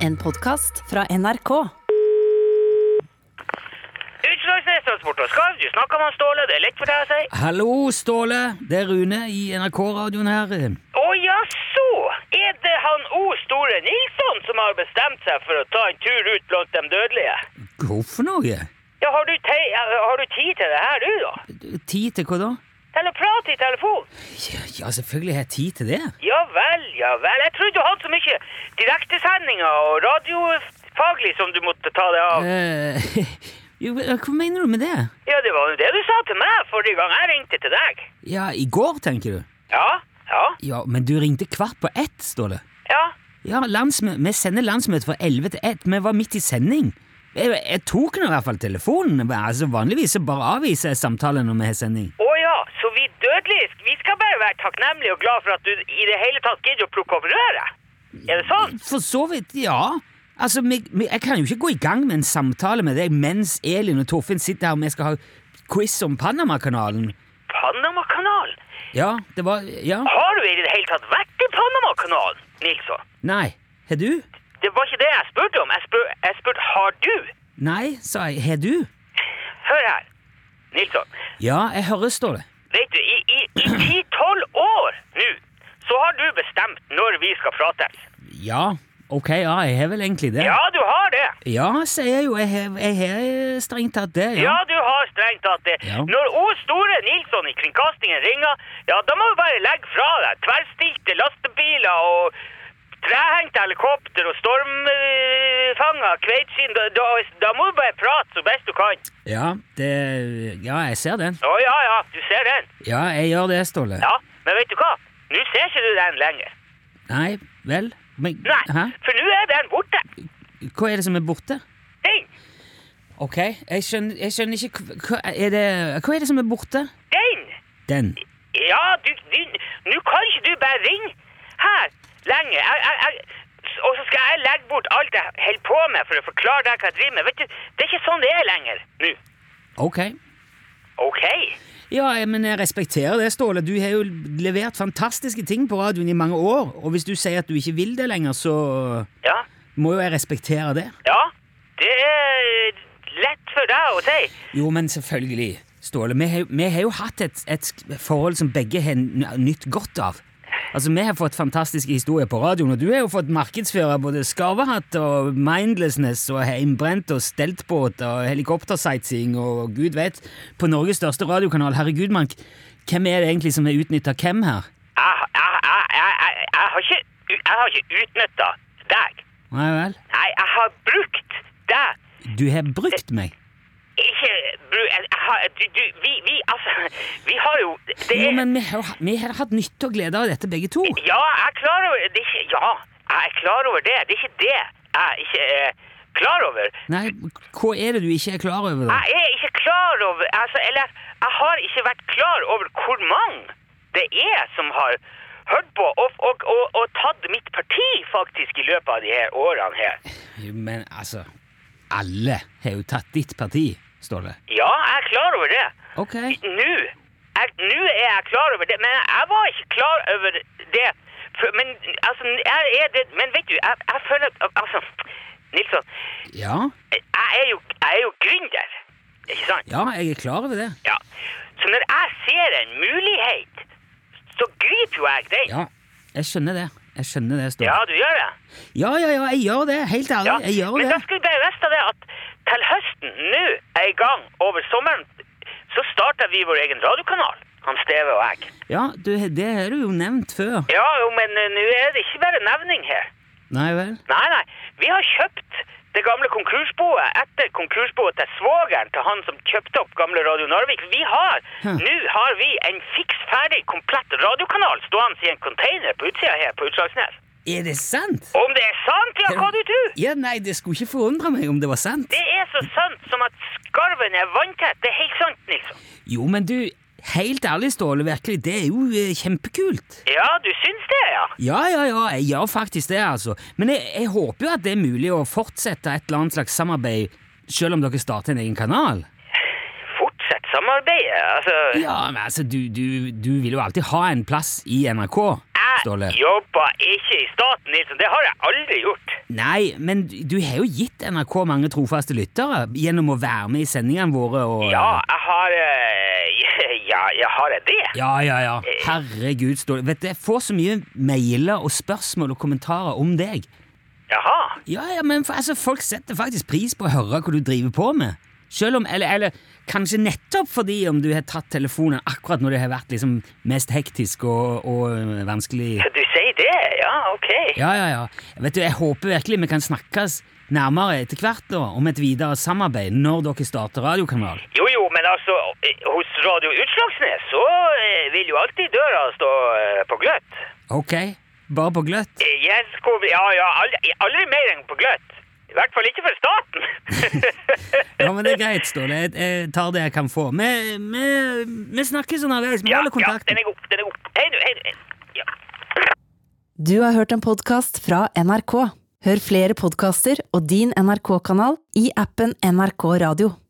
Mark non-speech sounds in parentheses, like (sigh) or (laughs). En podkast fra NRK. Utslagsnes Transport og Skarv, du snakker med han Ståle, det er lett for deg å si. Hallo, Ståle. Det er Rune i NRK-radioen her. Å jaså, er det han O. Store Nilsson som har bestemt seg for å ta en tur ut blant de dødelige? Hvorfor noe? Ja, har du, te har du tid til det her, du da? Tid til hva da? Til å prate i telefon? Ja, ja selvfølgelig har jeg tid til det. Ja vel, ja vel. Jeg trodde du hadde så mye direktesendinger og radiofaglig som du måtte ta deg av. Eh, (laughs) jo, hva mener du med det? Ja, det var jo det du sa til meg forrige gang jeg ringte til deg. Ja, i går, tenker du? Ja, ja, Ja, men du ringte kvart på ett, Ståle. ja. Ja, landsmø vi sender landsmøte fra 11 til 1. Vi var midt i sending. Jeg, jeg tok nå i hvert fall telefonen. Men Altså, Vanligvis så bare avviser jeg samtaler når vi har sending. Å ja, så vi dødelige Vi skal bare være takknemlige og glad for at du i det hele tatt gidder å plukke opp røret. Er det sånn? For så vidt, ja. Altså, vi, vi, Jeg kan jo ikke gå i gang med en samtale med deg mens Elin og Torfinn sitter her og vi skal ha quiz om Panamakanalen. Panamakanalen? Ja, det var Ja. Har du i det hele tatt vært i Panamakanalen, Nilsson? Nei. Har du? Det var ikke det jeg spurte om. Jeg spurte, jeg spurte har du? Nei, sa jeg. Har du? Hør her, Nilsson. Ja, jeg hører, står det. Vet du, i, i, i 10-12 år nå, så har du bestemt når vi skal prates. Ja. Ok, ja, jeg har vel egentlig det. Ja, du har det. Ja, sier jeg jo. Jeg har- Jeg har strengt tatt det, Ja, du har strengt tatt det. Ja. Når O. Store Nilsson i Kringkastingen ringer, ja, da må du bare legge fra deg tverrstilte lastebiler og trehengte helikopter og stormfanger, kveitskinn. Da, da, da må du bare prate så best du kan. Ja, det Ja, jeg ser den. Å ja, ja, du ser den. Ja, jeg gjør det, Ståle. Ja, men vet du hva? Nå ser ikke du den lenger. Nei, vel Men Nei, Hæ? for nå er den borte. Hva er det som er borte? Den, Ok, jeg skjønner, jeg skjønner ikke hva- hva er, det, hva er det som er borte? den. Den. Ja, du, du, nå kan ikke du bare ringe her lenge. Jeg, jeg, jeg, og så skal jeg legge bort alt jeg holder på med for å forklare deg hva jeg driver med. Vet du, det er ikke sånn det er lenger nå. Ok. Ok. Ja, jeg- men jeg respekterer det, Ståle. Du har jo levert fantastiske ting på radioen i mange år, og hvis du sier at du ikke vil det lenger, så Ja. må jo jeg respektere det. Ja. Det er lett for deg å si. Jo, men selvfølgelig, Ståle. Vi har, vi har jo hatt et, et sk- forhold som begge har n- nytt godt av. Altså, Vi har fått fantastiske historier på radioen, og du har jo fått markedsføre både skarvehatt og mindlessness og heimbrent og steltbåt og helikoptersightseeing og gud vet På Norges største radiokanal, herregud, Mank, hvem er det egentlig som har utnytta hvem her? Jeg, jeg, jeg, jeg, jeg, jeg har ikke, jeg har ikke utnytta deg. Nei vel? Nei, jeg har brukt deg. Du har brukt meg. Ikke bru... Jeg, jeg har, du, du, vi, vi, altså Vi har jo det Jo, er- men vi har, vi har hatt nytte og glede av dette, begge to. Ja, jeg er klar over det. Er ikke, ja, jeg er klar over det. Det er ikke det jeg ikke er klar over. Nei, hva er det du ikke er klar over? da? Jeg er ikke klar over altså, Eller jeg har ikke vært klar over hvor mange det er som har hørt på og, og, og, og tatt mitt parti, faktisk, i løpet av de her årene her. Jo, Men altså Alle har jo tatt ditt parti, Ståle. Ja, jeg er klar over det. Ok. Nå jeg- nå er jeg klar over det, men jeg var ikke klar over det. For- Men altså, jeg er det Men vet du, jeg, jeg føler at- Altså, Nilsson. Ja, jeg er jo, jeg er jo gründer, ikke sant? ja, jeg er klar over det. Ja. Så når jeg ser en mulighet, så griper jo jeg den. Ja, jeg skjønner det. Jeg skjønner det, Ja, Ståle. du gjør det? Ja, ja, ja, jeg gjør det. Helt ærlig, Ja. jeg gjør Men da det. skal vi bare vite det at til høsten, nå er jeg i gang over sommeren, så starter vi vår egen radiokanal, han Steve og jeg. Ja, du, Det har du jo nevnt før. Ja, jo, men eh, nå er det ikke bare nevning her. Nei vel? Nei, nei. Vi har kjøpt det gamle konkursboet etter konkursboet til svogeren til han som kjøpte opp gamle Radio Narvik. Vi har, Hm. Nå har vi en fiks ferdig, komplett radiokanal stående i en container på utsida her på Utslagsnes. Er det sant? Om det er sant, ja, hva du tror? Ja, Nei, det skulle ikke forundre meg om det var sant. Det er så sant som at skarven er vanntett. Det er helt sant, Nilsson. Jo, men du, helt ærlig, Ståle, virkelig, det er jo eh, kjempekult. Ja, du syns det, ja? Ja, ja, ja, jeg gjør faktisk det, altså. Men jeg, jeg håper jo at det er mulig å fortsette et eller annet slags samarbeid, selv om dere starter en egen kanal. Fortsett samarbeidet, altså. Ja, men altså, du, du, du vil jo alltid ha en plass i NRK, Jeg Ståle. jobber ikke i staten, Nilsson. Det har jeg aldri gjort. Nei, men du har jo gitt NRK mange trofaste lyttere gjennom å være med i sendingene våre og Ja, jeg har eh, (laughs) Ja, jeg har det. Ja, ja, ja. Herregud, Ståle. Vet du, jeg får så mye mailer og spørsmål og kommentarer om deg. Jaha. Ja, ja, men for, altså, folk setter faktisk pris på å høre hva du driver på med. Selv om, eller, eller kanskje nettopp fordi om du har tatt telefonen akkurat når det har vært liksom mest hektisk og, og øh, vanskelig. Du sier det? Ja, ok. Ja, ja, ja. Vet du, jeg håper virkelig vi kan snakkes nærmere etter hvert da, om et videre samarbeid når dere starter radiokanal. Jo, jo, men altså, eh, hos Radio Utslagsnes så eh, vil jo alltid døra stå eh, på gløtt. Ok, bare på gløtt. Eh, Jeg skulle, ja, ja, aldri, aldri mer enn på gløtt. I hvert fall ikke for (laughs) staten. Ja, men det er greit, Ståle. Jeg, jeg tar det jeg kan få. Vi, vi, vi snakkes underveis. Vi ja, holder ja, kontakten. den er god, den er god. Hei du, hei du. hei du. Ja. Du har hørt en podkast fra NRK. Hør flere podkaster og din NRK-kanal i appen NRK Radio.